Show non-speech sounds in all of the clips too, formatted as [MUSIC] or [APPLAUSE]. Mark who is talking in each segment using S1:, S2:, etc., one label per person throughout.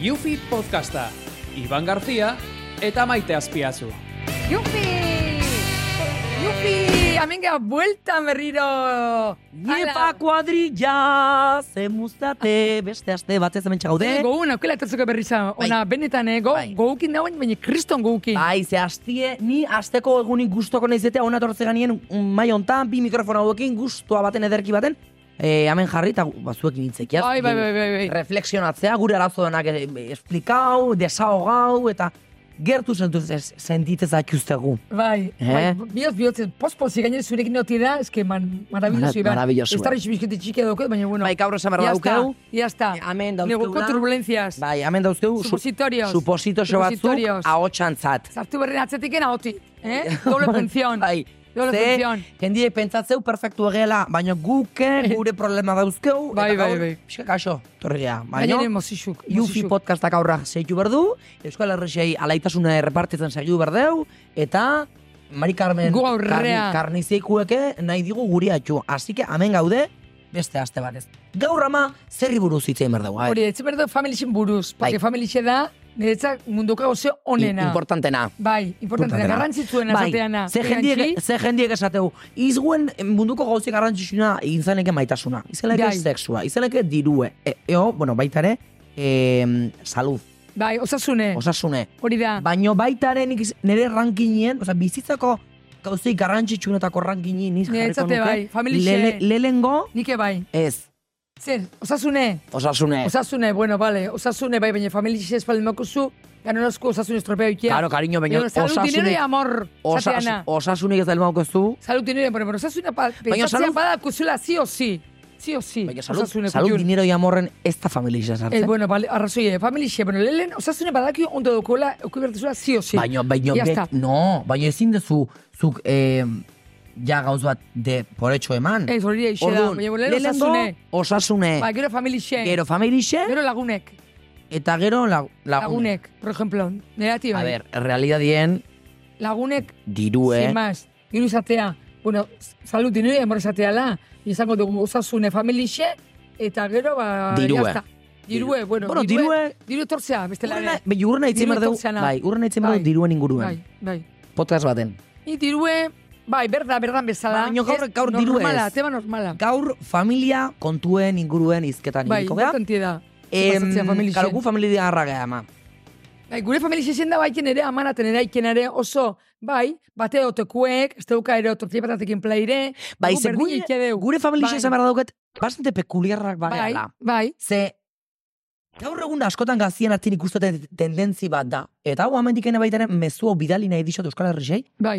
S1: Yufi Podcasta, Iban Garzia eta Maite Azpiazu.
S2: ¡Yupi! ¡Yupi! Amiga, vuelta berriro!
S3: Niepa kuadrilla, ze mustate, beste aste batez hemen txaude.
S2: Gogun, aukela etortzeko berri za. Ona, benetan, eh, go,
S3: Bai.
S2: goukin dauen, baina kriston goukin.
S3: Bai, ze astie, ni asteko egunik gustoko naizetea ona tortze ganien mm, mai hontan, bi mikrofona hauekin, gustoa baten ederki baten. E, hemen jarri eta gu- bazuekin hitzekiaz.
S2: Bai, bai, bai, bai, bai.
S3: Reflexionatzea, gure arazo denak e, e, esplikau, desahogau, eta gertu sentuz, sentitez akuztegu.
S2: Bai,
S3: Eh?
S2: bai, bihotz, bihotz, pospozi gainera zurekin neoti da, eske man, marabilloso,
S3: Mara-
S2: Iban.
S3: maravilloso,
S2: Ez
S3: eh.
S2: tarri bizkete txiki daukeu, baina, bueno.
S3: Bai, gaur esan behar
S2: ya
S3: daukeu.
S2: está, Ya está.
S3: Hemen
S2: Neguko
S3: dauzkeuna.
S2: turbulencias.
S3: Bai, hemen dauzkegu. su-
S2: Supositorios.
S3: Supositoxo
S2: Supositorios.
S3: batzuk ahotsantzat.
S2: Zartu berri atzetiken ahotik, eh?
S3: [LAUGHS]
S2: Doble función.
S3: Bai.
S2: Doble
S3: Ze,
S2: función.
S3: Jendiek pentsatzeu perfektu egela, baina guke
S2: [LAUGHS]
S3: gure problema dauzkeu.
S2: Bai,
S3: eta
S2: bai,
S3: gaur,
S2: bai.
S3: Pixka kaso, torri gea. Baina,
S2: Gainera mozizuk.
S3: Yufi
S2: mozizuk.
S3: podcastak aurra zeitu berdu, Euskal Herrixei alaitasuna errepartitzen segidu berdeu, eta Mari Carmen
S2: Gu aurrea.
S3: karnizikueke nahi digu guri atxu. Así que, hemen gaude, beste aste batez. Gaur ama, zerri buruz hitzein berdeu.
S2: Hori, etxe berdo familixen buruz, porque
S3: Bai.
S2: familixe da, niretzak munduko gauze onena.
S3: Importantena.
S2: Bai, importante,
S3: Importantena.
S2: garrantzitzuena
S3: Bai,
S2: esateana.
S3: Ze jendiek, ze jendiek esateu, izguen munduko gauzik garrantzitsuna izaneke maitasuna, izaneke
S2: Bai.
S3: sexua, izaneke dirue, e, eo, bueno, baita ere, em, salud,
S2: Bai, osasune,
S3: osasune.
S2: hori da.
S3: Baino baita ere nik iz- nire rankinen, oza, bizitzako gauzik garrantzitsunetako rankinen niz jarriko
S2: Niretzate
S3: nuke.
S2: bai, familixe.
S3: Lele- lehengo,
S2: Nike e bai.
S3: ez,
S2: Zer, osasune,
S3: osasune.
S2: osasune, bueno, vale, osasune, bai, baina familixe ez baldin bakuzu, ganorozko osasune estropea ikia.
S3: Claro, cariño, baina
S2: Salud, dinero y
S3: osasunek,
S2: amor,
S3: osas,
S2: esateana.
S3: osasunek ez da elmaukezu,
S2: Salud, dinero, bueno, pero osasuna, pa,
S3: salud-
S2: pentsatzea badakuzula, sí o sí. Sí o sí.
S3: baina salud,
S2: osasuneko
S3: salud
S2: jun.
S3: dinero y amorren ez da familia sartzen.
S2: Eh, bueno, vale, arrazoi, eh, familixe, bueno, lehen, osasune badaki ondo dokola, eukibertezula, sí o sí.
S3: Baina, baina,
S2: Bai, Ya
S3: bet,
S2: está.
S3: no, baina ezin dezu, zuk, eh, ja gauz bat, de, por hecho eman.
S2: Ez, hori da, ixe da,
S3: Orduan,
S2: baina, bueno, lehen
S3: lehenengo,
S2: osasune.
S3: osasune,
S2: Ba, gero familixe.
S3: gero familixe,
S2: Gero lagunek.
S3: eta gero la, lagunek.
S2: Lagunek, por ejemplo. Negati
S3: A
S2: bai.
S3: ber, realidadien,
S2: Lagunek,
S3: dirue,
S2: sin más. Diru izatea, bueno, salud dinero emor izatea la. Izango dugu osasune familixe, eta gero, ba,
S3: Dirue.
S2: ya está. Dirue, bueno,
S3: Bueno, dirue-
S2: Diru etortzea, bestela
S3: Urrena,
S2: ere.
S3: bai, urrena itzen
S2: Diru
S3: behar dugu,
S2: etortzena.
S3: bai, urrena itzen behar
S2: Bai.
S3: dugu diruen
S2: Bai,
S3: inguruan,
S2: bai.
S3: podcast baten.
S2: Ni dirue, bai, berda, berdan bezala.
S3: Baina gaur-
S2: Ez,
S3: gaur dirue
S2: Normala,
S3: ez.
S2: tema normala.
S3: Gaur, familia kontuen inguruen izketan
S2: Bai,
S3: ibiliko gara.
S2: importantia da.
S3: Em,
S2: Pasatzea familixe.
S3: Karo, gu familia harra gara, ama.
S2: Bai, gure familia izen da baiken ere, amanaten ere, aiken ere, oso, bai, bate otekuek, ez dauka ere otortzi patatekin plaire,
S3: Bai,
S2: dugu
S3: ze
S2: berdin
S3: gure,
S2: eike deu.
S3: gure familia
S2: Bai.
S3: izan behar dauket, bastante pekuliarrak
S2: bai,
S3: bagala.
S2: bai,
S3: Ze, gaur egun da askotan gazien artin ikusten tendentzi bat da. Eta hau hamendik ene baita ere mezu hau bidali nahi dixot Euskal Herrisei.
S2: bai.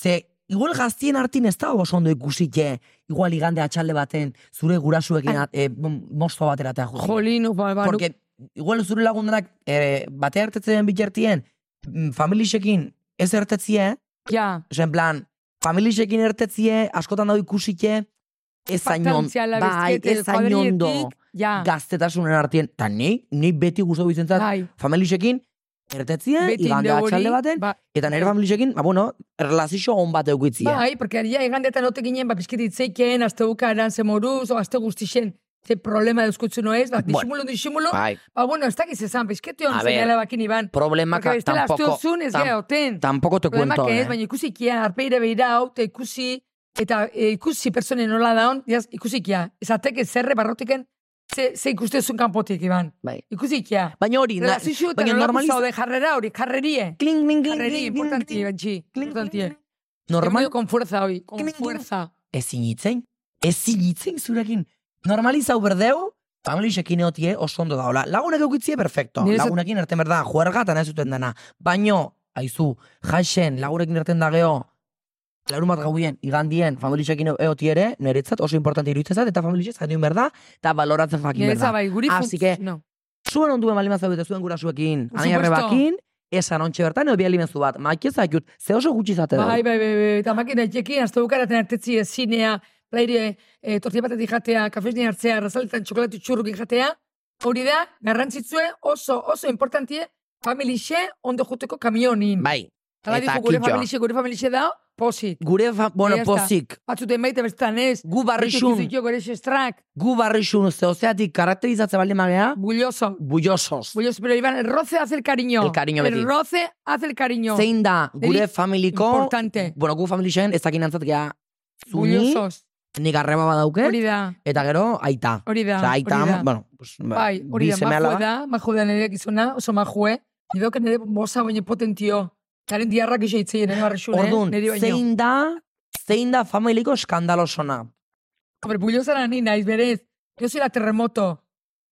S3: Ze, igual gazien artin ez da oso ondo ikusike, igual igande atxalde baten, zure gurasuekin
S2: Ai.
S3: at, e, m- mostoa batera eta jute.
S2: Jolin, ba, ba,
S3: Porque, igual zure lagundanak e, bate hartetzen bitartien, mm, familixekin ez ertetzie,
S2: nu- ja,
S3: Osa, en plan, familixekin ertetzie, askotan dago ikusike, ez zainon,
S2: patantziala
S3: bai,
S2: bizkete,
S3: ez zainon do
S2: kuadrilletik, ja,
S3: gaztetasunen artien, eta ni, ni beti guztu bizentzat,
S2: bai,
S3: familixekin, ertetzia,
S2: beti
S3: igande
S2: indeu hori,
S3: atxalde Eh, baten,
S2: ba,
S3: eta nire familixekin, ba, bueno, relazio on bat eukitzia.
S2: bai, porque ja, egandetan ote ginen, ba, pizkit itzeiken, azte bukaeran ze moruz, o azte guztixen, ze problema deuskutzu noiz, ba,
S3: Bueno.
S2: disimulo, disimulo,
S3: Bai.
S2: ba, bueno, ez dakiz esan, pizketi hon
S3: A
S2: zein
S3: ver,
S2: ala bakin iban.
S3: Problema
S2: Porque
S3: ka,
S2: bestela azte
S3: tampoco,
S2: ozun ez
S3: tam-
S2: gara oten.
S3: tampoco te
S2: Problema
S3: cuento,
S2: que ez,
S3: eh.
S2: baina ikusikia, arpeire behira, hau, eta ikusi, eta e, ikusi personen nola daun, diaz, ikusikia. Ezatek ez zerre barrotiken, ze, ze ikustezun kanpotik, Iban.
S3: Bai.
S2: Ikusikia.
S3: Baina hori, na-
S2: Relazio eta
S3: baina
S2: normaliz...
S3: normaliz...
S2: de jarrera hori, jarrerie.
S3: Kling, kling, kling,
S2: Jarrerie,
S3: kling, kling,
S2: importanti,
S3: kling,
S2: Ibanchi.
S3: kling,
S2: Importanti. eh.
S3: kling. Normal,
S2: Con fuerza hoy, con
S3: Kling, kling.
S2: fuerza.
S3: ezin itzen, ezin itzen zurekin. Normalizau berdeu, familixekin eotie eh, oso ondo daola. Lagunek eukitzie, perfecto.
S2: Nire zat-
S3: Lagunekin erten berda, juerga eta nahi zuten dana. Baino, aizu, jaixen, lagunekin erten da geho, larun bat gauien, igandien, familixekin eotie ere, niretzat oso importante iruditzen zait, eta familixez jaten berda, eta baloratzen jakin
S2: Nire
S3: berda.
S2: bai, guri fun-
S3: Así que-
S2: No.
S3: Zuen onduen balima zaudete zuen
S2: bai-
S3: gurasuekin,
S2: Por
S3: anai
S2: supuesto.
S3: arrebakin, esan ontxe bertan, edo bialimenzu bat, maikez zaitut, ze oso gutxi zate dugu.
S2: Bai, bai, bai, bai, eta makina itxekin, azte bukaraten hartetzi eh, zinea, plaire, e, tortilla batetik jatea, kafesni hartzea, razaletan txokolatu txurrukin jatea, hori da, garrantzitsue oso, oso importantie, familixe ondo juteko kamionin.
S3: Bai,
S2: Tala
S3: Eta
S2: dizu, gure
S3: kitxoa.
S2: familixe, gure familixe da, posit.
S3: Gure, fa, bueno,
S2: Ya está.
S3: pozik,
S2: Batzuten baita bestan ez.
S3: gu barrixun,
S2: Zitio gure xestrak,
S3: gu barrixun, zeozeatik karakterizatze baldin magea,
S2: bulloso.
S3: bullosos.
S2: Bulloso, pero Iván, el roce hace el cariño.
S3: El cariño beti.
S2: El roce hace el cariño.
S3: Zein da,
S2: Deli-
S3: gure familiko,
S2: Importante.
S3: bueno, gu familixen, ez dakin antzat gea, zuni, Eh?
S2: Bullosos.
S3: nik arreba badauke,
S2: Hori da,
S3: eta gero, aita.
S2: hori da.
S3: Osa, aita,
S2: hori da.
S3: bueno, pues, ba,
S2: Bai, hori
S3: bi
S2: da,
S3: seme
S2: majue
S3: alaba.
S2: da, majue da nire gizona, oso majue. Nidok nire moza baino potentio. Garen diarrak isa itzeien, nire barrexun, eh?
S3: Orduan,
S2: Nire baino.
S3: zein da, zein da familiko eskandalosona.
S2: Hombre, bullosara ni naiz, berez. Yo soy la terremoto.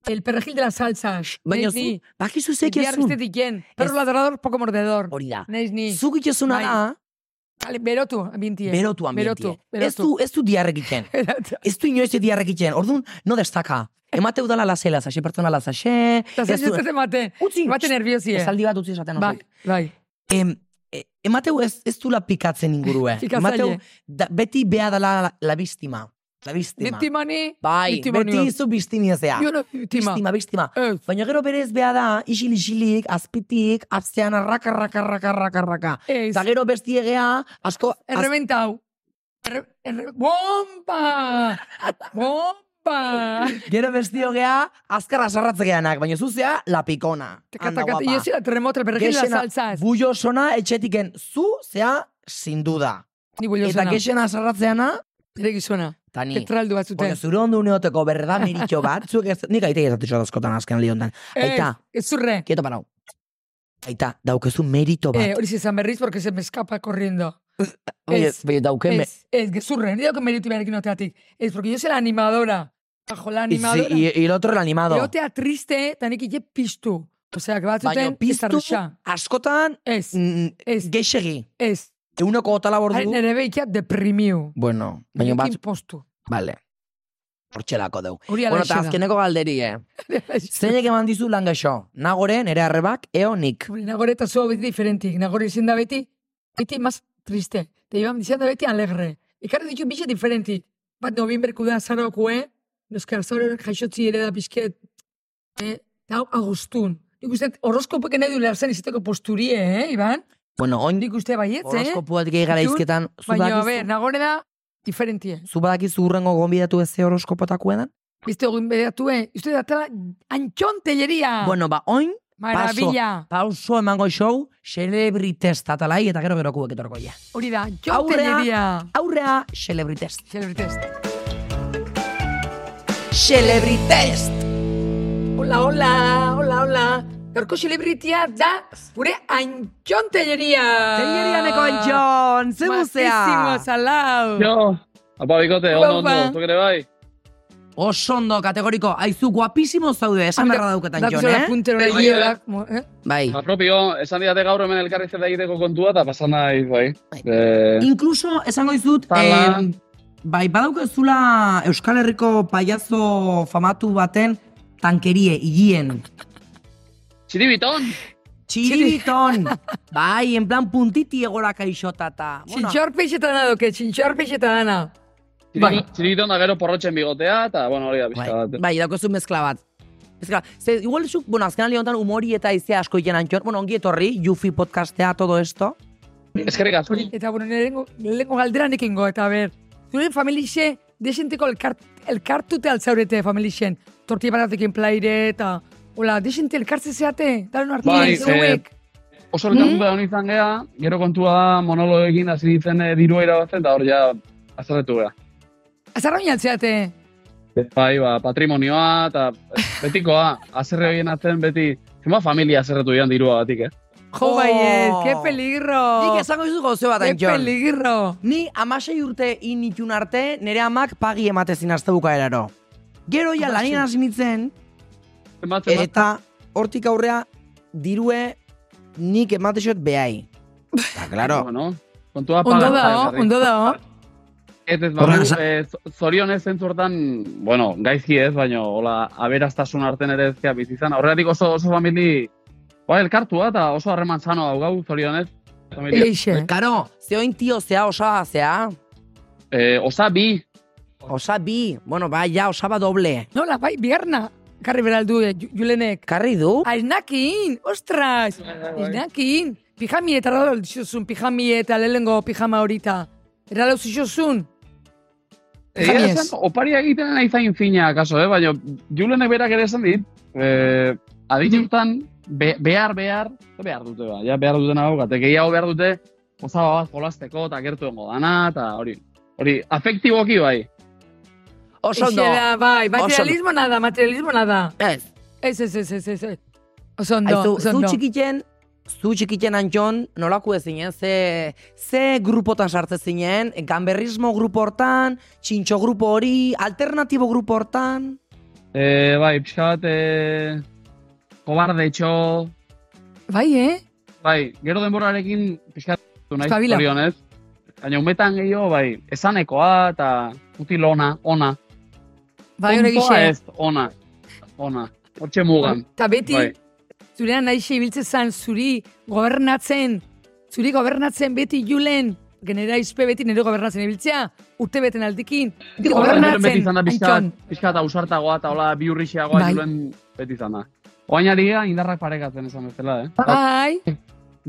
S2: El perrejil de la salsa.
S3: Baina
S2: Naiz
S3: zu,
S2: ni.
S3: bakizu zeik
S2: Bihar
S3: ezun.
S2: beste diken. Perro
S3: Ez.
S2: ladrador, poco mordedor.
S3: Hori da.
S2: Naiz ni.
S3: Zuk itxezuna
S2: Bai.
S3: da,
S2: Kale, berotu, ambientie.
S3: berotu ambientie.
S2: Berotu,
S3: Ez
S2: berotu.
S3: du, ez du diarrek itxen.
S2: [LAUGHS] Eta
S3: Ez du inoiz diarrek itxen. Orduan, no destaka. Emateu dala lase, lasaxe, pertsona lasaxe.
S2: zen
S3: Ez du,
S2: justatzen baten.
S3: utzi,
S2: Baten nerviosi, eh?
S3: esaldi bat utzi esaten.
S2: Bai,
S3: osoik.
S2: bai.
S3: Em, e- emateu ez, ez du la pikatzen
S2: [LAUGHS]
S3: ingurue.
S2: Pikatzaile.
S3: da, beti bea dala la, la biktima. La biktima.
S2: Biktimani.
S3: Bai,
S2: biktima
S3: beti
S2: nion.
S3: izu biktimia zea.
S2: Yo no biktima.
S3: Biktima, biktima.
S2: Ez.
S3: Baina gero berez bea da, isil isilik, azpitik, atzean arraka, arraka, arraka, arraka, arraka.
S2: Ez.
S3: Eta gero bestiegea, asko... az-
S2: Errebenta hau. Erre, erre, bomba!
S3: [LAUGHS]
S2: Bomba!
S3: Gero bestio gea, azkar asarratzegeanak, baina zuzea, la picona.
S2: Taka,
S3: Anda
S2: taka,
S3: guapa.
S2: yo soy la terremoto, el perrejil de la salsa.
S3: bullo sona etxetiken zu, zea, sin duda.
S2: Ni bullosona.
S3: Eta gexen asarratzeana,
S2: Ere gizona.
S3: eta eh, ni.
S2: Tetraldu bat zuten.
S3: Baina zure ondo uneoteko berda meritxo bat, zuek ez, nik aitei ez datxo dauzkotan azken lehiontan.
S2: Ez,
S3: Aita,
S2: Ez zurre.
S3: kieto parau. Aita, daukezu merito
S2: Eh,
S3: bat.
S2: hori zizan berriz, porque se me escapa corriendo.
S3: Baina,
S2: ez.
S3: baina dauke me-
S2: Ez, ez, gezurre, nire dauken meritu beharekin oteatik. Ez, porque yo soy la animadora. Bajo la
S3: Y sí,
S2: animadora.
S3: Y, y el otro el animado.
S2: Eotea triste, eta nik ike piztu. Osea, que
S3: Baina
S2: batzuten,
S3: piztu
S2: ezarruxa.
S3: askotan
S2: Ez,
S3: mm,
S2: ez,
S3: geixegi.
S2: ez.
S3: Euneko gota labor
S2: Haren
S3: du.
S2: ere behikia deprimiu.
S3: Bueno, baina bat,
S2: Ekin postu.
S3: vale. Hortxelako deu.
S2: Hori
S3: Bueno,
S2: ala
S3: eta azkeneko galderi, eh. Zeinek eman dizu lan gaixo? Nagore, nere arrebak, eo nik.
S2: Hombre, Nagore eta zua beti diferentik. Nagore izan da beti, beti más triste. Te iban diciendo beti alegre. Ekarri ditu bixe diferentik. Bat noviemberku da zarokue, noskar zauren jaixotzi ere da pixket. Eh, eta hau agustun. Nik uste, horoskopek nahi du lerzen izateko posturie, eh, Iban?
S3: Bueno, oin
S2: Nik uste baietz, eh?
S3: horoskopuat gehi gara
S2: Itun,
S3: izketan. Zu
S2: Baina, a ber,
S3: badakizu,
S2: nagore da, diferentie.
S3: zu badakizu urrengo gonbidatu ez ze horoskopotakuedan?
S2: Biste hogin bedatue, eh? uste datela, antxon telleria!
S3: Bueno, ba, oin,
S2: Maravilla!
S3: pauso emango show, celebrites tatalai, eta gero berokuek etorko ja.
S2: Hori da, antxon
S3: Aurrea-
S2: telleria!
S3: Aurrea, celebrites.
S2: Celebrites.
S3: Celebrites!
S2: Hola, hola, hola, hola. Gaurko celebritia da gure Antxon Telleria.
S3: Ah. Teierianeko entxon, ze
S2: Majísimo,
S3: muzea!
S2: salau.
S1: Jo, apa bikote,
S2: ondo, ondo, Guapa.
S1: zuk ere bai.
S3: Osondo, kategoriko, aizu guapísimo zaude, esan
S2: Hombre,
S3: berra dauketan
S2: Dakizu
S3: jon,
S2: la
S3: eh?
S2: puntero
S1: Bai,
S2: hori,
S1: bai,
S2: da, mo- eh?
S3: Bai.
S1: Ba, propio, esan didate gaur hemen elkarrizketa egiteko kontua, eta pasan nahi, bai.
S3: Bai.
S1: Eh,
S3: Inkluso, esango izut,
S1: Tala.
S3: em, bai, badaukezula Euskal Herriko paiazo famatu baten tankerie, higien.
S1: Txiribiton!
S2: [LAUGHS]
S3: Txiribiton! bai, en plan puntiti egora kaixotata.
S2: Txintxor peixetan da doke, txintxor peixetan da. Bai.
S1: Txiribi- Txiribiton da gero porrotxen bigotea, eta, bueno, hori da pixka
S3: Bai,
S1: bat.
S3: bai daukazu mezkla bat. Mezkla, ze, igual zuk, bueno, azken aldi honetan humori eta izea asko ikena antxor, bueno, ongi etorri, Yufi podcastea, todo esto.
S1: Eskerrik asko.
S2: Eta, bueno, nirengo, nirengo galdera nekingo, eta ber. Zure familixe, desenteko elkart, elkartute altzaurete familixen. Tortilla batatekin plaire, eta... Hola, desente elkartze zeate, daron
S1: Bai,
S2: artien, zeuek.
S1: Oso elkartu da honi izan gea, gero kontua da monologo egin hasi ditzen eh, dirua irabazten, eta hor ja azarretu gea.
S2: Azarra oin altzeate.
S1: Bai, ba, patrimonioa, eta betikoa, azerre horien atzen beti, zenba familia azerretu dian dirua batik, eh?
S2: Jo,
S3: Oh.
S2: baiet, qué peligro.
S3: Nik esango izut gozo bat
S2: Qué
S3: antxor.
S2: peligro.
S3: Ni amasei urte initun arte, nire amak pagi ematezin azte bukaeraro. Gero ja
S2: Amasei.
S3: lanien hasi nintzen,
S1: Zenbat, zenbat,
S3: eta hortik aurrea, dirue nik ematezot behai. Ba, Eta,
S1: [LAUGHS]
S3: claro.
S1: bueno, kontua paga.
S2: Ondo dao, ondo dao.
S1: Ez ez badu,
S3: Horra, sa-
S1: eh, zo- zorionez zentzu hortan, bueno, gaizki ez, baino, hola, aberastasun arten ere ezkia bizizan. Horregatik oso, oso famili, bai, elkartua eta oso harreman sano daugau, zorionez. Familia.
S2: Eixe.
S3: Karo, zeoin tio zea, osa zea.
S1: Eh, osa bi,
S3: Osa bi, bueno, bai, ja, osaba doble.
S2: Nola, bai, bigarna. Karri beraldu, eh, Ju- Julenek.
S3: Karri du?
S2: Aiznakin, ostras. Aiznakin. Pijami eta erralo dizuzun, pijami eh, eta lehengo pijama horita. Erralo zizuzun.
S1: Egia
S2: Jamies.
S1: esan, oparia egiten nahi zain fina, kaso, eh? baina julenek berak ere esan dit, eh, adituntan, be, behar, behar, ze behar dute ba, ja behar dutena daukate, gehiago behar dute, osaba bat jolasteko, eta gertu dengo dana, eta hori, hori, afektiboki bai.
S3: Oso ondo.
S2: Ixera, bai,
S3: Oso ondo.
S2: materialismo nada, materialismo nada.
S3: Ez.
S2: Ez, ez, ez, ez, ez, ez. Oso ondo,
S3: Aizu,
S2: oso
S3: zu
S2: ondo.
S3: txikiten, zu txikiten antxon, nolako ezinen, ze, ze grupotan sartze zinen, ganberrismo grupo hortan, txintxo grupo hori, alternatibo grupo hortan,
S1: E, bai, pixka bat, e, kobarde etxo,
S2: Bai, eh?
S1: bai, gero denborarekin pixka bat nahi,
S2: Espabila.
S1: zorionez. Baina umetan gehiago, bai, esanekoa eta util ona, ona.
S2: Bai, hori
S1: Tontoa
S2: gixe.
S1: ez, ona, ona. Hortxe mugan.
S2: Eta beti,
S1: Bai.
S2: zurean naixe ibiltzen zan, zuri gobernatzen, zuri gobernatzen beti julen, genera izpe beti nire gobernatzen ibiltzea, urte beten aldikin, beti
S1: Julen beti
S2: Bai, gobernatzen,
S1: izan da pixka,
S2: antxon.
S1: pixka eta ausartagoa eta hola biurrixeagoa
S2: Bai.
S1: julen beti izan da. Oain ari gara indarrak parekatzen esan bezala, eh?
S2: Bai,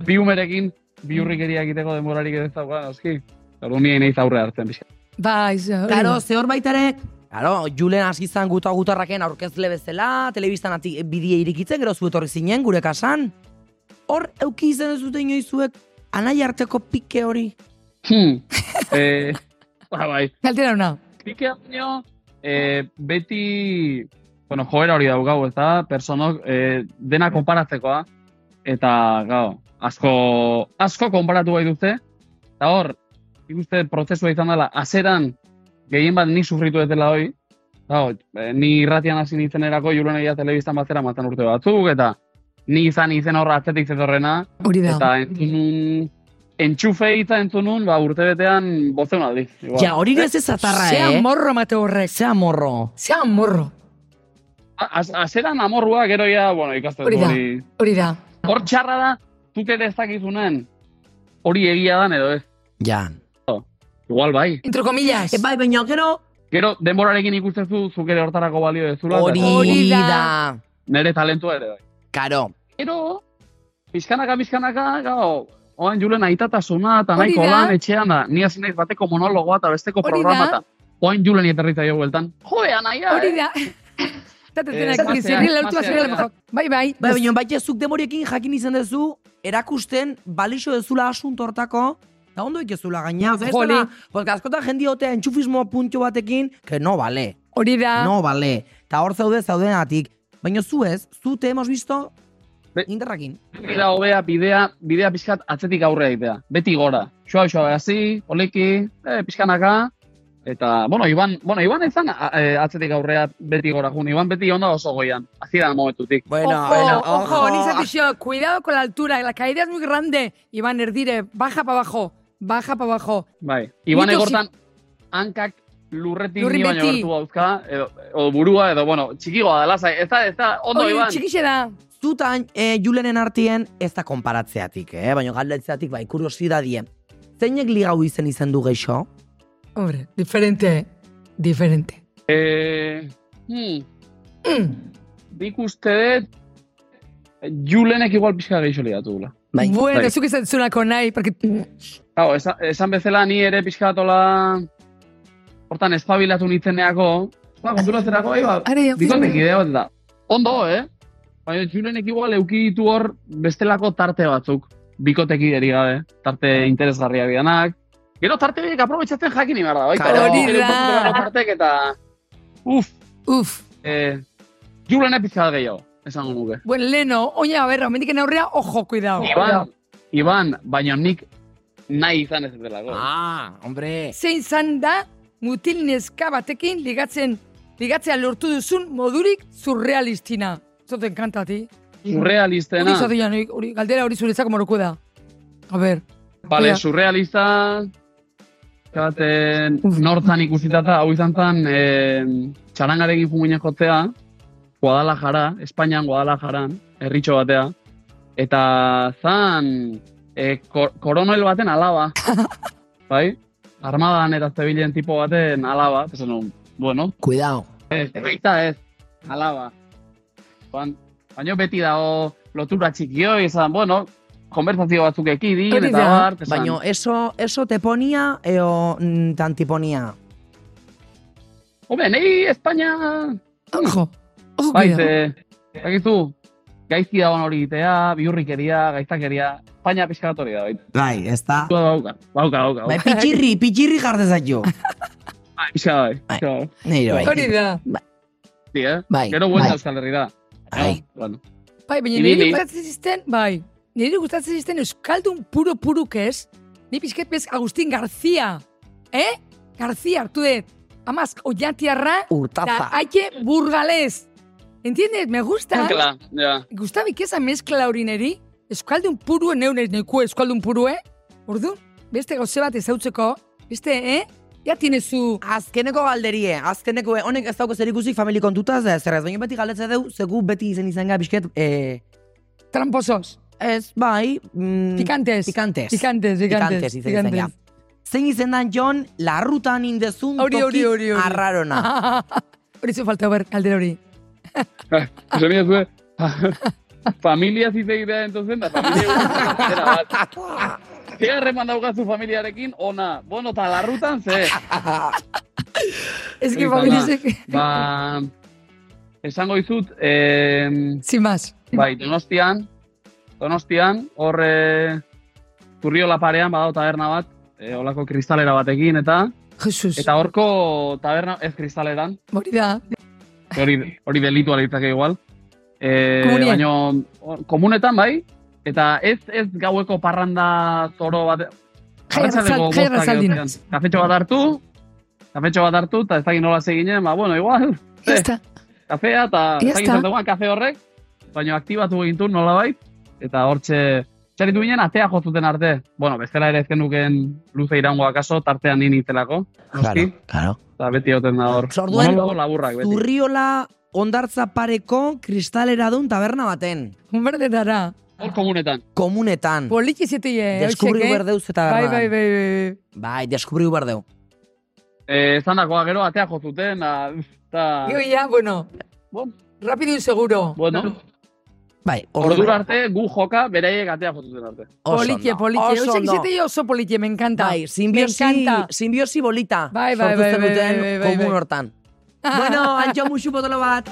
S1: Bi umerekin biurrikeria egiteko denborarik ez dagoa, noski. Eta ni nahi aurre hartzen pixka.
S2: bai, ze hori
S3: Karo,
S2: da.
S3: ze horbait ere, Claro, Julen hasi izan guta gutarraken aurkezle bezala, telebistan ati bidie irikitzen, gero zu etorri zinen gure kasan. Hor, euki izan ez dute inoizuek, anai arteko pike hori.
S1: Hmm. eh, ba, bai,
S2: Kaltera hona.
S1: Pikea baino, eh, beti, bueno, joera hori daugau, ez da, personok eh, dena konparatzekoa, eta, gau, asko, asko konparatu bai dute, eta hor, ikuste prozesua izan dela, azeran, gehien bat ni sufritu ez dela hoi, eta hor, eh, ni irratian hasi nintzen erako, julen egia telebiztan batzera mazan urte batzuk, eta ni izan izen horra atzetik zetorrena,
S2: Hori da.
S1: eta entzunun, entxufe hitza entzunun, ba, urtebetean bozeun aldiz. igual.
S3: Ja, hori ez ez atarra,
S2: Ze
S3: eh?
S2: amorro mate horrek.
S3: Ze amorro.
S2: Ze amorro.
S1: Azeran amorrua, gero ja, bueno, ikasten
S2: Hori
S1: du
S2: da.
S1: hori.
S2: Hori da.
S1: Hor txarra da, zuk ere ez dakizunen, hori egia dan edo ez.
S3: Ja.
S1: Igual bai.
S2: Entre comillas.
S3: E, bai, baina gero,
S1: Gero, denborarekin ikusten zu, zuk ere hortarako balio dezula. eta
S3: hori,
S2: Hori da.
S3: da.
S1: Nere talentua ere bai.
S3: Karo,
S1: Gero, pizkanaka, pizkanaka, gau, oan julen aitatasuna, eta
S2: Hori
S1: nahiko
S2: da.
S1: lan etxean da. Ni hasi naiz bateko monologoa eta besteko
S2: Hori da.
S1: programa eta. Oain julen ieterritza jo bueltan. Jode, anaia,
S2: Hori
S1: eh?
S2: da. [LAUGHS] Eta
S1: Eh,
S2: tenak
S1: pasea,
S2: izirri lautua
S1: pasea,
S2: zirela
S1: pasea.
S2: mejor. Bai, bai.
S3: Bai, baina baita zuk demoriekin jakin izan duzu, erakusten balixo dezula asunto hortako, da ondo ikezula gaina. Oza, ez
S2: Joli.
S3: dela, porque askotan jendi hotea entxufismo puntio batekin, que no vale,
S2: Hori da.
S3: no vale. Ta hor zaude zaudenatik. Baina zu ez, zu te hemos visto
S1: Be-
S3: indarrakin.
S1: Beti da hobea bidea, bidea pixkat atzetik aurre egitea. Beti gora. Xoa, xoa, hazi, poliki, eh, pixkanaka. Eta, bueno, Iban, bueno, Iban ezan a- eh, atzetik aurrea beti gora jun. Iban beti onda oso goian. Azira momentutik.
S3: Bueno,
S2: Ojo, ojo, ni zati xo, cuidado con la altura, la caída es muy grande. Iván Erdire, baja para abajo, baja para abajo.
S1: Bai. Iban
S2: Mito
S1: egortan, hankak lurretik
S2: Lurrin
S1: ni baino
S2: beti.
S1: gertu dauzka, edo, o burua, edo, bueno, txikigoa da, lasai. Ez da, ez da, ondo,
S2: Hori,
S1: Iban.
S2: txikixe da.
S3: Zutan, e, julenen artien ez da konparatzeatik, eh? baina galdetzeatik, bai, kuriosidadie. Zeinek ligau izen izen du geixo?
S2: Hombre, diferente, diferente.
S1: Eh, hmm.
S2: Mm.
S1: Nik uste dut, Julenek igual pixka gehiago ligatu dula.
S3: Bai.
S2: bueno,
S1: bai.
S2: zuk ez zentzunako nahi, porque...
S3: Mm.
S1: Claro, esan, esan bezala ni ere pixkatola hortan espabilatu nintzeneako, ba, konturatzerako, bai, ba,
S2: Are,
S1: bikotek idea bat da. Ondo, eh? Baina julenek igual eukiditu hor bestelako tarte batzuk, bikotek ideri gabe, tarte interesgarriak dianak. Gero tarte horiek aprobetsatzen jakin behar da, baita.
S3: Claro.
S1: Gero
S2: Hori da.
S1: portugaleko Tartek eta, uf,
S2: Uf,
S1: eh, julenek pixka bat gehiago, esango nuke.
S2: bueno, leno, oina, a ver, mendiken aurrea, ojo, cuidado.
S1: Iban, Iban, baina nik nahi izan ez delako.
S3: Ah, hombre.
S2: Zein zan da, mutil neska batekin ligatzen, ligatzea lortu duzun modurik surrealistina. Zote enkantati. Hori
S1: Surrealistena.
S2: izate joan, hori- hori, galdera hori zuretzako moroko da. A ber,
S1: Bale,
S2: Ja.
S1: surrealista, Zaten, nortzan ikusitata, hau izan zen, eh, txarangarekin funginen jotzea, Guadalajara, Espainian Guadalajaran, herritxo batea, eta zan, eh, kor koronel
S2: [LAUGHS]
S1: baten alaba, bai? Armadan eta zebilen tipo baten alaba, esan nun, bueno,
S3: Cuidao.
S1: ez, eita ez, alaba. Baina beti dago lotura txikio, izan, bueno, konbertsazio batzuk ekidin,
S2: Hori
S1: eta
S2: da,
S1: bar, esan.
S3: Baina, eso, eso te ponia eo mm, tantiponia.
S1: Hombre, nei Espainia...
S2: Ojo, ojo,
S1: Bai,
S2: cuidado.
S1: ze, dakizu, gaizki dagoen hori egitea, bihurrikeria, gaiztakeria, Espainia pixka bat hori da, baita.
S3: Bai, ez da.
S1: Bauka, bauka, bauka, bauka.
S3: [LAUGHS] Bai, pitxirri, pitxirri jartezat jo.
S1: Bai, pixka bai, pixka bai.
S3: Neiro,
S2: Hori
S3: bai.
S2: da.
S1: Sí, eh?
S3: Bai,
S1: Gero
S3: bai.
S1: buelta Euskal Herri da.
S3: Bai.
S1: Bueno,
S2: Bai, baina
S1: Ibili.
S2: niri gustatzen zisten, bai, niri gustatzen zisten Euskaldun puro-puruk ez, ni pixket bez Agustin Garzia, eh? Garzia hartu dut, amaz, oiatiarra, da
S3: Urtaza.
S2: haie burgalez. Entiendes, me gusta,
S1: Ankela, ja.
S2: gusta esa mezkla hori niri, Euskaldun purue neunez neku Euskaldun purue, ordu, beste goze bat ezautzeko, beste, eh? Ja tienezu,
S3: Azkeneko galderie, azkeneko eh, honek ez dauko zer ikusik famili kontutaz, da zerrez, baina beti galetzea deu, zegu beti izen izan gara bizket, eh,
S2: tramposos,
S3: ez, bai, mm,
S2: picantes,
S3: pikantes.
S2: picantes, picantes,
S3: Pikantes izen izan gara. Zein izendan Jon, larrutan indezun
S2: Hori, hori,
S3: toki
S2: hori, hori.
S3: arrarona.
S2: Hori zu falta ber, galdera hori.
S1: Ose mila zuen, familia ziteitea entonzen, da familia zera bat.
S3: [LAUGHS]
S1: Ze harreman daukazu familiarekin, ona, bueno, eta larrutan, ze.
S2: Ez que
S1: Hori da,
S2: familizek...
S1: Ba, esango dizut, eh,
S2: Sin más.
S1: Bai, Donostian, Donostian, hor eh, Zurriola parean badago taberna bat, eh, holako kristalera batekin eta
S2: Jesus.
S1: eta horko taberna ez kristaleran,
S2: Hori da.
S1: hori hori delitua litzake igual. Eh,
S2: Komunean.
S1: baino hor, komunetan bai, eta ez ez gaueko parranda zoro bat
S2: Jai
S1: arratsaldeko
S2: arratsal- jai
S1: bostak
S2: arratsaldin.
S1: edo zean, Kafetxo bat hartu, kafetxo bat hartu eta ez dakit nola seginen, ba bueno, igual.
S2: Ya está.
S1: kafea, eta
S2: Ya
S1: ez dakit
S2: está.
S1: zer duan kafe horrek, baina aktibatu egintu nolabait, eta hortxe, txaritu ginen atea jotzuten arte. Bueno, bestela ere ezken nuken luze irango akaso, tartean nini itzelako, noski,
S3: claro.
S1: eta beti hoten da hor.
S3: Orduan,
S1: Monologo laburrak beti.
S3: Zurriola ondartza pareko kristalera dun taberna baten.
S2: Un verde dará.
S1: Hor komunetan.
S3: Komunetan.
S2: Politxe zete ye.
S3: Deskubriu
S2: hoxe, eh?
S3: berdeuz eta
S2: Bai, bai, bai,
S3: berdan.
S2: bai.
S3: Bai, deskubriu berdeu.
S1: Eh, Esan dakoa gero atea jotzuten, [LAUGHS] eta...
S2: Yo ya, bueno.
S1: Bom.
S2: Rápido y seguro.
S1: Bueno,
S3: Bai,
S1: ordura arte gu joka beraiek atea jotzuten arte.
S2: Politxe, politxe.
S3: Oso
S2: Hoxe,
S3: ondo.
S2: zete yo oso politxe, me encanta.
S3: Bai,
S2: Me
S3: simbiosi, [LAUGHS]
S2: encanta.
S3: simbiosi bolita.
S2: Bai, bai,
S3: sortu
S2: bai, bai,
S3: zenuten
S2: bai, bai, bai,
S3: komun
S2: bai.
S3: hortan. bueno,
S2: [LAUGHS]
S3: antxo musu potolo bat.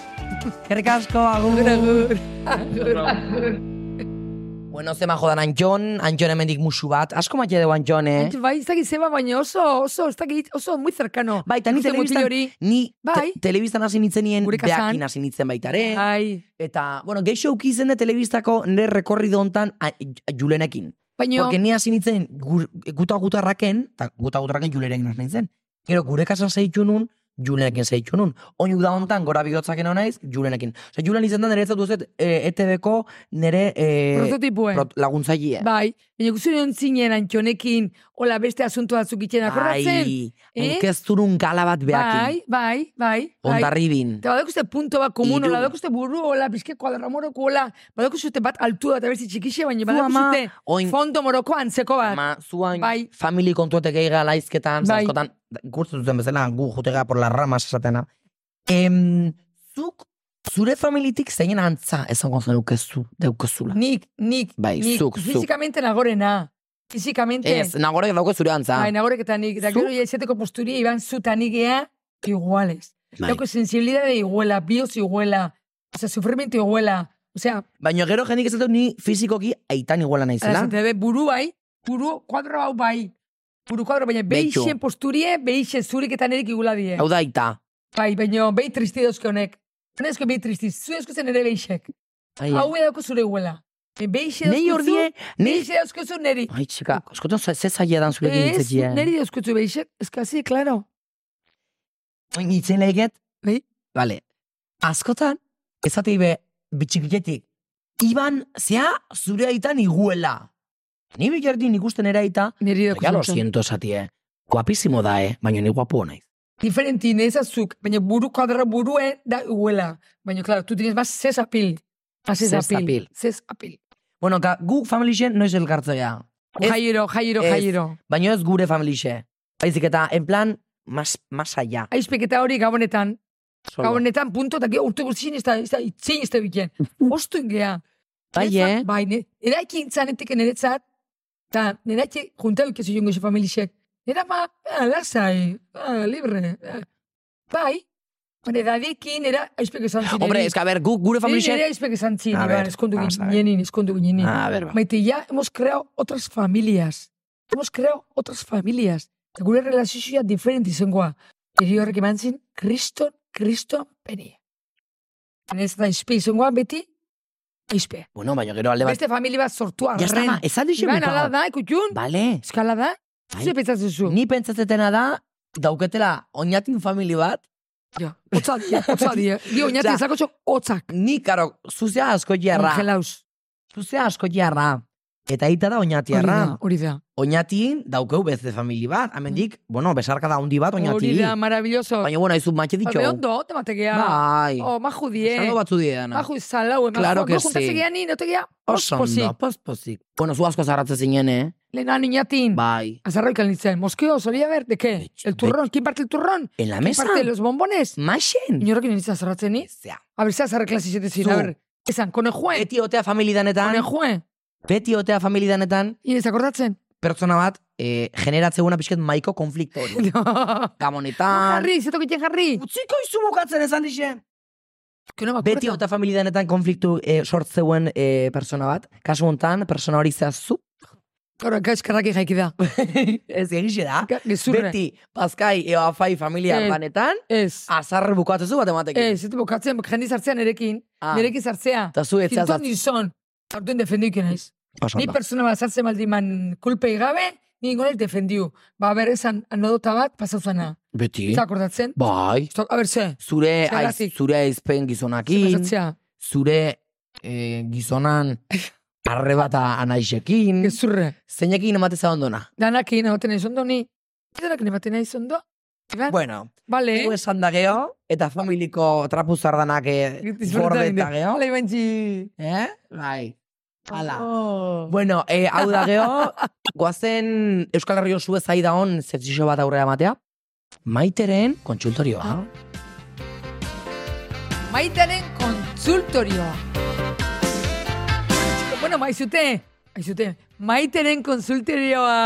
S3: Kerrik asko,
S2: Agur,
S3: agur.
S2: agur. Agur, agur.
S3: Bueno, zema jodan antxon, antxon hemendik musu bat. Asko maite dugu antxon, eh?
S2: Bai, ez dakit zeba, baina oso, oso, ez dakit, oso muy cercano.
S3: Bai, eta ni
S2: Ikusten
S3: telebistan-
S2: mutil hori.
S3: Ni
S2: Bai.
S3: te, telebiztan hasi nintzen nien,
S2: Gure Bai. kasan.
S3: behakin hasi nintzen baitare.
S2: Ai.
S3: Eta, bueno, geixo uki izen da telebistako nire rekorrido hontan a- a- julenekin.
S2: Baina,
S3: Porque ni hasi nintzen gur- guta-gutarraken, eta guta-gutarraken julerekin hasi nintzen. Gero gure kasan zeitu nun, julenekin zeitu nun. Oinu da hontan, gora bigotzaken hona naiz, julenekin. Osa, julen izen da nire ez dut zet, e, ETV-ko nire e,
S2: prototipue.
S3: pro- laguntzaile.
S2: Bai, baina guzti nion zinen antxonekin, hola beste asuntu batzuk itxen akorratzen.
S3: Ai,
S2: Eh?
S3: enkezturun gala bat behakin.
S2: Bai, bai, bai. bai.
S3: Ondarribin.
S2: Eta badeko punto bat komun,
S3: Hiru.
S2: hola, badeko buru, hola, bizke kuadra moroko, hola, badeko zute bat altua eta berzi txikixe, baina
S3: Zu
S2: badeko
S3: ama,
S2: zute
S3: oin
S2: fondo moroko antzeko bat.
S3: Ama, zuain,
S2: Bai.
S3: famili kontuetek eiga laizketan,
S2: Bai.
S3: zaskotan, gurtzen duten bezala, gu jutega por la ramas esatena. Em, zuk, zure familitik zeinen antza esango zenukezu, daukezula.
S2: Nik, nik,
S3: Bai,
S2: nik,
S3: zuk, zuk.
S2: fizikamente nagorena. Fizikamente.
S3: Ez, nagore dauko zure antza.
S2: Bai, nagorek eta nik. Da
S3: Zuk?
S2: gero iaizeteko posturia, iban zuta nik ea, iguales.
S3: Bai.
S2: Dauko sensibilidade iguela, bioz iguela, o sea, sufrimiento iguela. O sea,
S3: Baina gero jendik ez dut ni fizikoki aitan iguala naizela.
S2: Ala, zente be, buru bai, buru kuadro hau bai. Buru kuadro, baina
S3: Beitu.
S2: beixen posturie, beixen zurik eta nerik igula die.
S3: Hau da aita.
S2: Bai, baina behi tristi dauzke honek. Honezko behi tristi, zu dauzke zen ere beixek.
S3: Ai,
S2: Hau ea dauko zure iguela. Beixe
S3: Nei
S2: dauzke zu,
S3: ordie, nei... Ah,
S2: beixe dauzke zu neri.
S3: Ai, txika, eskotan ze ze zaila dan zure
S2: Ez,
S3: gintzetia.
S2: neri dauzke zu beixek, ez kasi, klaro.
S3: Oin itzen lehiket.
S2: Bai.
S3: Vale. Askotan, ezatei be, bitxikietik, Iban, zea, zure aitan iguela. Ni bilardin ikusten era aita,
S2: Neri
S3: ja lo
S2: dauzke zu.
S3: siento esatie. Guapísimo da, eh? Baina ni guapo naiz.
S2: Diferenti, nezazuk, baina buru kuadro burue da iguela. Baina, klaro, tu tienes más zez apil. Más zez
S3: Zez apil.
S2: apil. Zez apil.
S3: Bueno, ka, guk familixen noiz elkartzea. Ez-
S2: Jairo, jairo,
S3: ez.
S2: jairo.
S3: Baina ez gure familixe. Baizik eta, en plan, mas, mas allá.
S2: Aizpeketa hori gabonetan,
S3: Solo. [LAUGHS]
S2: Gau honetan punto, eta gero urte guztien ez da, ez da, itzein ez da biken. Ostu ingea.
S3: Bai, eh?
S2: Bai, ne, eraiki intzanetik niretzat, eta neraiki juntauk ez jongo ze familixek. Nera ma, ah, lasai, ah, libre. ah. Bai, Hore, dadekin, era, aizpek esan ziren.
S3: Hombre, es que, a ver, gu, gure
S2: Nire
S3: familia...
S2: aizpek esan
S3: A
S2: ziren, ba,
S3: ver,
S2: Iván, eskondu
S3: vamos a ver.
S2: ginenin, eskondu ginenin.
S3: A ver, ba.
S2: Maite, ya hemos creado otras familias. Hemos creado otras familias. Eta gure relazioa diferente izangoa. Eri horrek eman zin, kriston, kriston, peni. Ez da izpe izangoa, beti, izpe.
S3: Bueno, baina gero alde bat...
S2: Beste familia bat sortu
S3: Ya está,
S2: arren.
S3: ma, esan duzu
S2: Iban,
S3: mi
S2: ala da, ikutun,
S3: Vale.
S2: eskala da,
S3: Bai.
S2: zure pentsatzen zu.
S3: Ni pentsatzetena da, dauketela oinatin famili bat,
S2: Ja, Hotzak, ja,
S3: [LAUGHS]
S2: hotzak die. Di oinati
S3: Ja.
S2: ezako txok, hotzak.
S3: ni, karo, zuzea asko jarra.
S2: Kongelaus.
S3: Zuzea asko jarra. Eta aita da oinati
S2: Hori
S3: jarra.
S2: da, hori da.
S3: Oinatin daukeu beste famili bat. Hemendik, bueno, besarka da handi bat
S2: Hori
S3: oinati.
S2: da, maravilloso.
S3: Baina, bueno, aizu matxe ditxo.
S2: Baina, ondo, tematekea.
S3: Bai.
S2: Oh, maju die.
S3: Salgo batzu diedan.
S2: Bajo y salado, emajo.
S3: Claro que
S2: Bajo, juntas
S3: sí.
S2: egia ni, no te guía.
S3: Oso
S2: Pospozik.
S3: ondo, pospozik. Bueno, zu asko zarratzen zinen, eh?
S2: Lehen han inatin.
S3: Bai.
S2: Azarroi kalnitzen. Moskeo, solía ver, ¿de qué?
S3: Betxo,
S2: El turrón. ¿Quién parte el turrón?
S3: En la
S2: ¿Quién
S3: mesa.
S2: parte de los bombones?
S3: Maxen.
S2: Inorrekin nintzen azarratzen ni.
S3: Zea.
S2: A ver, se azarra klasi zete zin.
S3: Zu.
S2: A ver, esan, konejuen.
S3: Beti otea familidanetan,
S2: Konejuen.
S3: beti otea familidanetan,
S2: Inez akordatzen. [LAUGHS]
S3: pertsona bat, eh, generatzeguna pixket maiko konflikto hori.
S2: No.
S3: Ah. Gamonetan.
S2: Jarri, zetok itxen jarri.
S3: Utziko izu bukatzen esan dixe.
S2: Que no me acuerdo.
S3: Beti ota familidanetan konfliktu eh, sortzeuen eh, persona bat. Kasu hontan, persona hori zehazu.
S2: Claro, acá eskerraki jaiki
S3: [LAUGHS]
S2: da.
S3: Ez egixe da.
S2: Ga- Gezurre.
S3: Beti, Paskai, Eva Fai familia
S2: Ez.
S3: lanetan,
S2: Ez.
S3: azarre bukatzezu bat ematekin.
S2: Ez, ez bukatzen, jendi zartzean erekin.
S3: Ah.
S2: Nerekin zartzea.
S3: Eta zu etzaz
S2: Zinton nizon. Horten defenduik naiz. Ni pertsona bat sartzen baldin man kulpei gabe, ni ingolek defendiu. Ba, ber, esan anodota bat, pasauzana.
S3: Beti.
S2: Ez akordatzen?
S3: Bai.
S2: Zok, a ber, ze,
S3: Zure, aiz,
S2: Zergatik.
S3: zure aizpen
S2: ze
S3: gizonakin,
S2: pasatzea.
S3: zure eh, [LAUGHS] gizonan arrebata anaisekin,
S2: Gezurre.
S3: zeinekin emateza ondona.
S2: Danak egin ematen naiz ondo, ni. Danak egin ematen Ba, naiz ondo. Iban?
S3: Bueno,
S2: Bale.
S3: eh? esan da geho, eta familiko trapuzardanak eh,
S2: Disfruta
S3: gorde
S2: egin da.
S3: eta geho.
S2: Hala, ibantzi.
S3: Eh? Bai. Hala.
S2: Oh.
S3: Bueno, eh, hau da geho, goazen Euskal Herri osue zai da hon zezixo bat aurrera matea. Maiteren kontsultorioa.
S2: Ah. Maitaren kontsultorioa. Bueno, maizute. Maizute. Maitaren konsultorioa.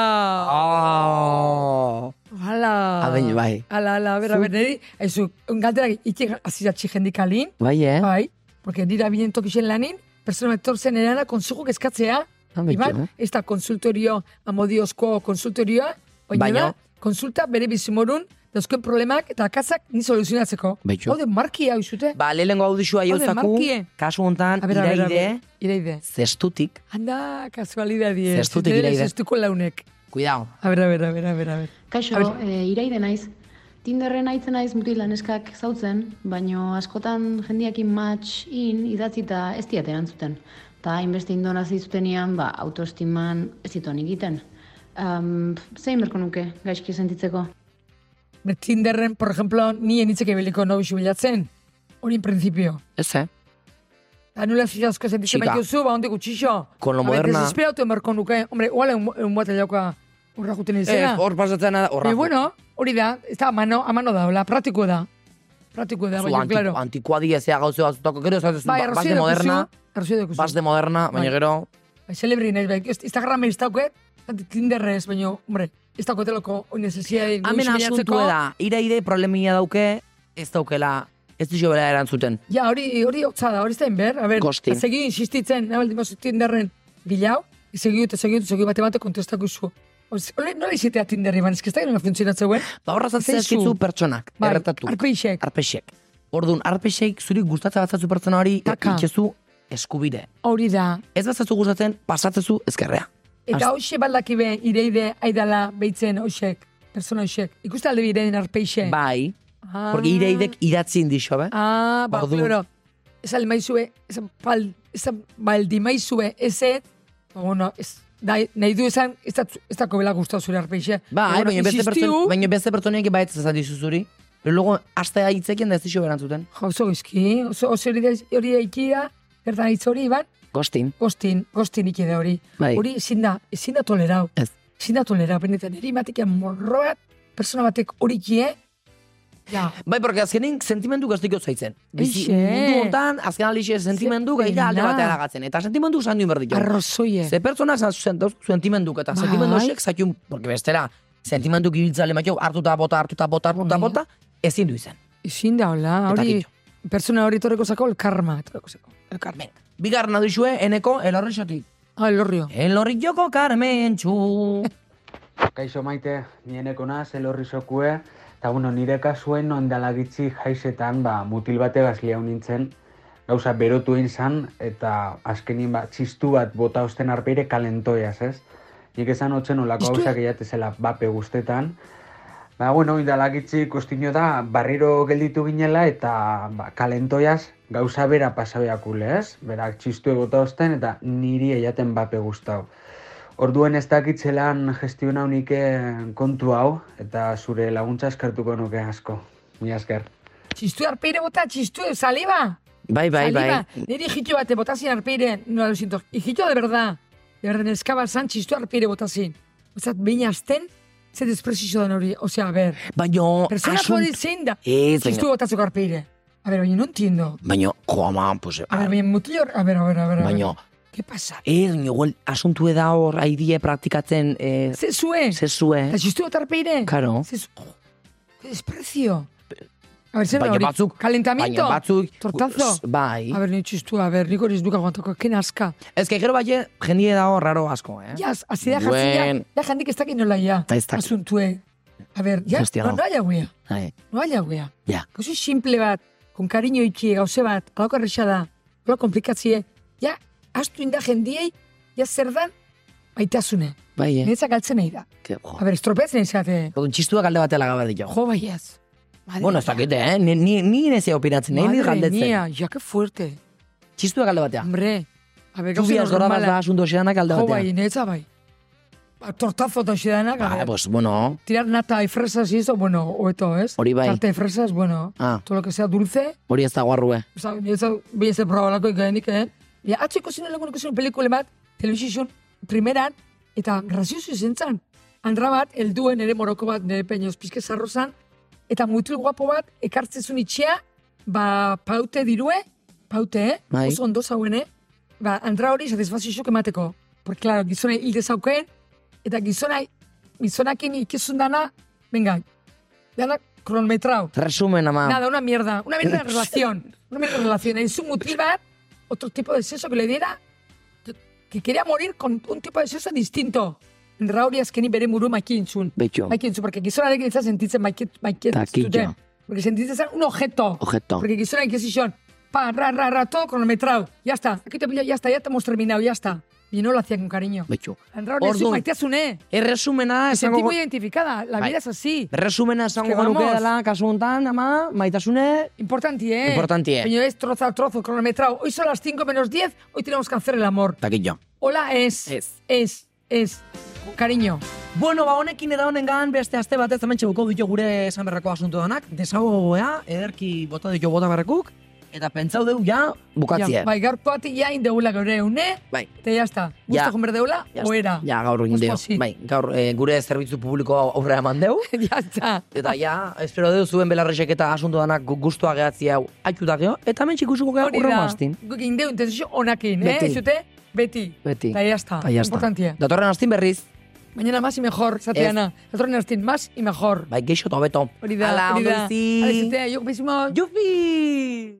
S3: Oh.
S2: Hala.
S3: Abein, bai.
S2: Hala, hala, bera,
S3: Zu-
S2: bera, niri, haizu, galdera itxe aziratxi jendik alin,
S3: Bai, eh?
S2: bai, porque dira bilen tokixen lanin, persona etortzen erana konzuguk eskatzea,
S3: Ah, beti,
S2: Iban,
S3: eh?
S2: ez da konsultorio, amodiozko konsultorioa, oina
S3: Baina-
S2: da, konsulta bere bizimorun, dauzken problemak eta akazak ni soluzionatzeko.
S3: Betxo.
S2: Hode, marki hau izute.
S3: Ba, lehenengo audizioa
S2: Hau de
S3: jauzaku,
S2: markie.
S3: kasu hontan,
S2: A ber, a ber, a ber.
S3: iraide,
S2: Iraide.
S3: zestutik.
S2: Anda, kasualidadie.
S3: Zestutik iraide.
S2: Zestuko launek.
S3: Cuidao.
S2: A ber, a ber, a ber, a ber, a ber.
S4: Kaixo,
S2: Abel-
S4: e, iraide naiz. Tinderren aitzen naiz mutila neskak zautzen, baino askotan jendiakin match in idatzita ez diat erantzuten. Ta hainbeste indona zizutenian, ba, autoestiman ez dituan egiten. Um, zein berko nuke, gaizki sentitzeko?
S2: Be, Tinderren, por ejemplo, ni enitzek ebeliko nobizu bilatzen. Hori en principio.
S3: Ez, eh?
S2: Anula fijasko sentitzen
S3: Chica.
S2: baituzu, ba, onde gutxixo.
S3: Con lo
S2: A ver,
S3: moderna.
S2: Desesperatu emarko nuke. Hombre, oala un bat jauka horra juten izena.
S3: hor pasatzen da, horra.
S2: Eh, bueno, hori da, ez da, amano, amano da, hola, praktiko da. Praktiko da,
S3: Zu
S2: baina,
S3: anti,
S2: claro.
S3: antikoa diezea gauzeo batzutako, gero ez
S2: Bai,
S3: ba, bas
S2: arrazoi
S3: de moderna,
S2: daukazu, arrazoi daukazu.
S3: bas de moderna, baina
S2: Bai.
S3: gero,
S2: Bai, celebri nahiz, bai, ez- Instagramen ez dauket, Tinderrez, baina, hombre, ez daukoteloko oinezezia
S3: hamen asuntu da, iraide problemia dauke, ez daukela, ez duzu bera erantzuten.
S2: Ja, hori, hori hotza da, hori zain ber, a ber,
S3: Gosti.
S2: segi insistitzen, nabaldi mazu Tinderren bilau, segiu eta segiu, segiu bate bate kontestako zu. Hore, nola izitea Tinderri, ban, ez da nola funtzionatzeu, eh?
S3: Ba, horra zatzen
S2: Zaizu.
S3: ezkitzu pertsonak,
S2: Bai,
S3: erretatu,
S2: arpeixek.
S3: arpexek. Orduan, arpexek zuri gustatzen batzazu pertsona hori,
S2: Taka.
S3: itxezu eskubide.
S2: Hori da.
S3: Ez batzazu gustatzen, pasatzezu ezkerrea.
S2: Eta hoxe baldaki be, ireide, aidala, beitzen, hoxek, persona hoxek. Ikuste alde birein arpeixe.
S3: Bai,
S2: ah,
S3: porque iraidek eh? idatzin dixo, be?
S2: Ah, ba,
S3: Ordu.
S2: klaro. Esan maizue, esan, pal, esan baldi maizue, ezet, ba, bueno, ez, da, nahi du esan, ez, da, ez dako bela gustau zure arpeixe.
S3: Bai,
S2: Bueno,
S3: baina beste, pertson,
S2: insistiu,
S3: baina beste pertsoniak bai ez esan dizu zuri. Pero luego, astea hitzekin da ez dizu berantzuten.
S2: Ja, oso gizki, oso, oso hori, da- hori da ikia, gertan hitz hori, ban,
S3: Gostin.
S2: gostin, gostin iki da hori.
S3: Bai.
S2: Hori ezin da, ezin da tolerau.
S3: Ez.
S2: Ezin da tolerau, benetan, eri batekian morroat, persona batek hori kie, Ja.
S3: Bai, porque azkenin sentimendu gaztiko zaitzen.
S2: Eixe.
S3: Bizi, mundu honetan, azken alixe sentimendu
S2: Ze
S3: gaita alde
S2: pena.
S3: batean agatzen. Eta sentimendu esan duen berdik.
S2: Arrozoie.
S3: Ze pertsona esan zuzen dauzku sentimenduk, eta
S2: Bai.
S3: sentimendu horiek zaitun, porque bestera, sentimenduk ibiltzale matio, hartuta bota, hartuta bota, hartuta
S2: Bai.
S3: bota, ezin du izan.
S2: Ezin da, hola,
S3: Eta
S2: hori,
S3: kitxo.
S2: pertsona hori torreko zako, el karma, torreko zako. El karma.
S3: Venga. Bigarren adizue, eneko, elorrixotik.
S2: Ah, el horrio.
S3: Elorri joko
S2: [LAUGHS]
S3: Carmen txu.
S5: Kaixo maite, nieneko naz, elorri sokue, eta bueno, nire kasuen ondalagitzi jaizetan, ba, mutil bategaz liau nintzen, gauza berotu egin zan, eta azkenin ba, txistu bat bota osten arpeire kalentoiaz, ez? Nik esan hotzen olako
S2: Txistua?
S5: gauzak eiatezela bape guztetan, Ba, bueno, indalagitzi kostino da, barriro gelditu ginela eta ba, kalentoiaz gauza bera pasabeakule, ez? Berak txistue bota osten eta niri eiaten bape guztau. Orduen ez dakitzelan gestiona unike kontu hau eta zure laguntza eskertuko nuke asko. Mi asker.
S2: Txistu arpeire bota, txistu, saliva.
S3: Bai, bai,
S2: saliva. Niri jitu bate botazin arpeire, no lo siento. Hijito de verdad. De verdad, neskaba zan txistu arpeire botazin. Ozat, baina azten, ze desprezio dan hori. Osea, a ver,
S3: Baino,
S2: persona hori zein da.
S3: Oh, Ez,
S2: Txistu
S3: baino,
S2: botatzeko arpeire. A ver, baina no entiendo.
S3: baino, jo, ama, pues,
S2: A ver, baina mutil hor, a ver, a ver, a ver. a ver.
S3: baino,
S2: ¿Qué pasa?
S3: ez, baino, igual, asuntu da hor, aidie praktikatzen, eh,
S2: Ze zue.
S3: zezue,
S2: Eta txistu bota arpeire.
S3: karo.
S2: Ze zu- jo, Qué desprecio. A ver, zer da
S3: Baina
S2: hori?
S3: batzuk-
S2: Calentamiento.
S3: Baina batzuk,
S2: Tortazo.
S3: bai.
S2: A ver, ni txistu, a ver, nik hori ez duk aguantako, ken aska.
S3: Ez que gero baie, jendie dago raro asko, eh?
S2: Jaz, hazi da jartzen,
S3: Buen.
S2: ja, da jandik ez dakit nola ja.
S3: Ta ez dakit.
S2: Asuntue. eh. A ver, ja,
S3: Hostia,
S2: no,
S3: no.
S2: no haya guia,
S3: Bai.
S2: no haya guia.
S3: Ja.
S2: Gauzi simple bat, kon kariño itxi, gauze bat, alako erresa da, alako komplikatzie, ja, astu inda jendiei, ja zer dan, maitasune.
S3: Bai, eh?
S2: Niretzak galtzen nahi da.
S3: Ke- jo.
S2: A ver, estropeatzen izate.
S3: Orduan, txistuak alde batela gabar ditu.
S2: Jo, bai ez. Madre
S3: Bueno, ez
S2: mía.
S3: dakite, eh? Ni, ni, ni nezia opinatzen, nahi nire
S2: Madre
S3: galdetzen.
S2: mía, ja, que fuerte.
S3: Txistuak alde batea.
S2: Hombre, a ver, gauza
S3: Zubiaz gora bat
S2: normala.
S3: da asunto xedanak alde
S2: Jo, bai,
S3: batea.
S2: niretza bai. Ba, Tortazo eta xedanak, a
S3: Ah,
S2: ver.
S3: pues, bueno,
S2: tirar nata y fresas y eso, bueno, hobeto, ez?
S3: Hori bai.
S2: Tarta y fresas, bueno,
S3: Ah.
S2: todo lo que sea dulce,
S3: hori ez eh. dago arrue.
S2: oza, niretzat bila zer probalako ikainik, eh? Ja, atzo ikusi nuen lagun ikusi nuen pelikule bat, telebizizun primeran, eta grazioso izen zan. Andra bat, helduen ere moroko bat, nire peñoz pizke zarro zan, eta mutil guapo bat, ekartzezun itxea, ba, paute dirue, paute, eh?
S3: Bai.
S2: Oso ondo zauen, eh? Ba, andra hori satisfazioak emateko. Porque, claro, gizona hilde zauken, eta gizona, gizonakin ikizun dana, venga, dana kronometrau.
S3: Resumen, ama.
S2: Nada, una mierda. Una mierda de
S3: [LAUGHS]
S2: relación. Una mierda de relación. Es un mutil bar, otro tipo de sexo que le diera, que quería morir con un tipo de sexo distinto. Rauri azkeni bere muru maikintzun.
S3: Betxo,
S2: Maikintzun, porque gizonarekin ez da sentitzen maiket-
S3: Taquillo.
S2: maiketzuten. Porque sentitzen zen un objeto.
S3: ojeto.
S2: Porque quisieron que hicieron pa, ra, ra, ra, todo cronometrado. Ya está, aquí te pillo, ya está, ya te hemos terminado, ya está. Y no lo hacía con cariño.
S3: Betxo.
S2: Andra hori
S3: Ordu.
S2: zu maiteazune.
S3: Erresumena,
S2: Me sentí
S3: Eh, esango...
S2: muy identificada. La
S3: Bai.
S2: vida es así.
S3: Erresumena esango
S2: Es que
S3: genuke
S2: vamos.
S3: dela, kasu honetan, ama, maitasune,
S2: Importante, ¿eh?
S3: Importante, eh.
S2: Coño, es trozo a trozo, cronometrado. Hoy son las 5 menos 10, hoy tenemos que hacer el amor.
S3: takillo.
S2: Hola, es.
S3: Ez.
S2: Es, es. Con Cariño.
S3: Bueno, ba, honekin eta honengan beste aste batez hemen txebuko ditu gure esan berrako asunto danak, desagogoea, ederki bota ditu bota barrakuk, eta pentsau deu ja bukatzie.
S2: Ya, Bai, gaur toati ya indeula gaure une,
S3: eh. Bai.
S2: eta ya está.
S3: Ya.
S2: Gusto con verdeula,
S3: Ja,
S2: oera.
S3: ja, gaur egin deu.
S2: Pozik.
S3: Bai, gaur eh, gure zerbitzu publiko aurrera eman deu.
S2: [LAUGHS] ya está.
S3: Eta ja, espero deu zuen belarrexek eta asunto danak gu- gustua gehatzi hau aitu da geho, eta hemen txikusiko geha
S2: Hori
S3: urrengo
S2: da.
S3: astin.
S2: Guk indeu intenzio onakin, eh?
S3: Beti.
S2: Ez dute? Beti.
S3: Beti.
S2: Eta ya está.
S3: Eta ja está.
S2: Importantia.
S3: Datorren astin berriz,
S2: Mañana más y mejor,
S3: Ez.
S2: Satiana. Datorren astin, más y mejor.
S3: bai, geixo eta hobeto.
S2: Hori da,
S3: Ala,
S2: hori
S3: ondo
S2: da.
S3: bizi.
S2: Alexitea, yo, besimos.
S3: Yupi!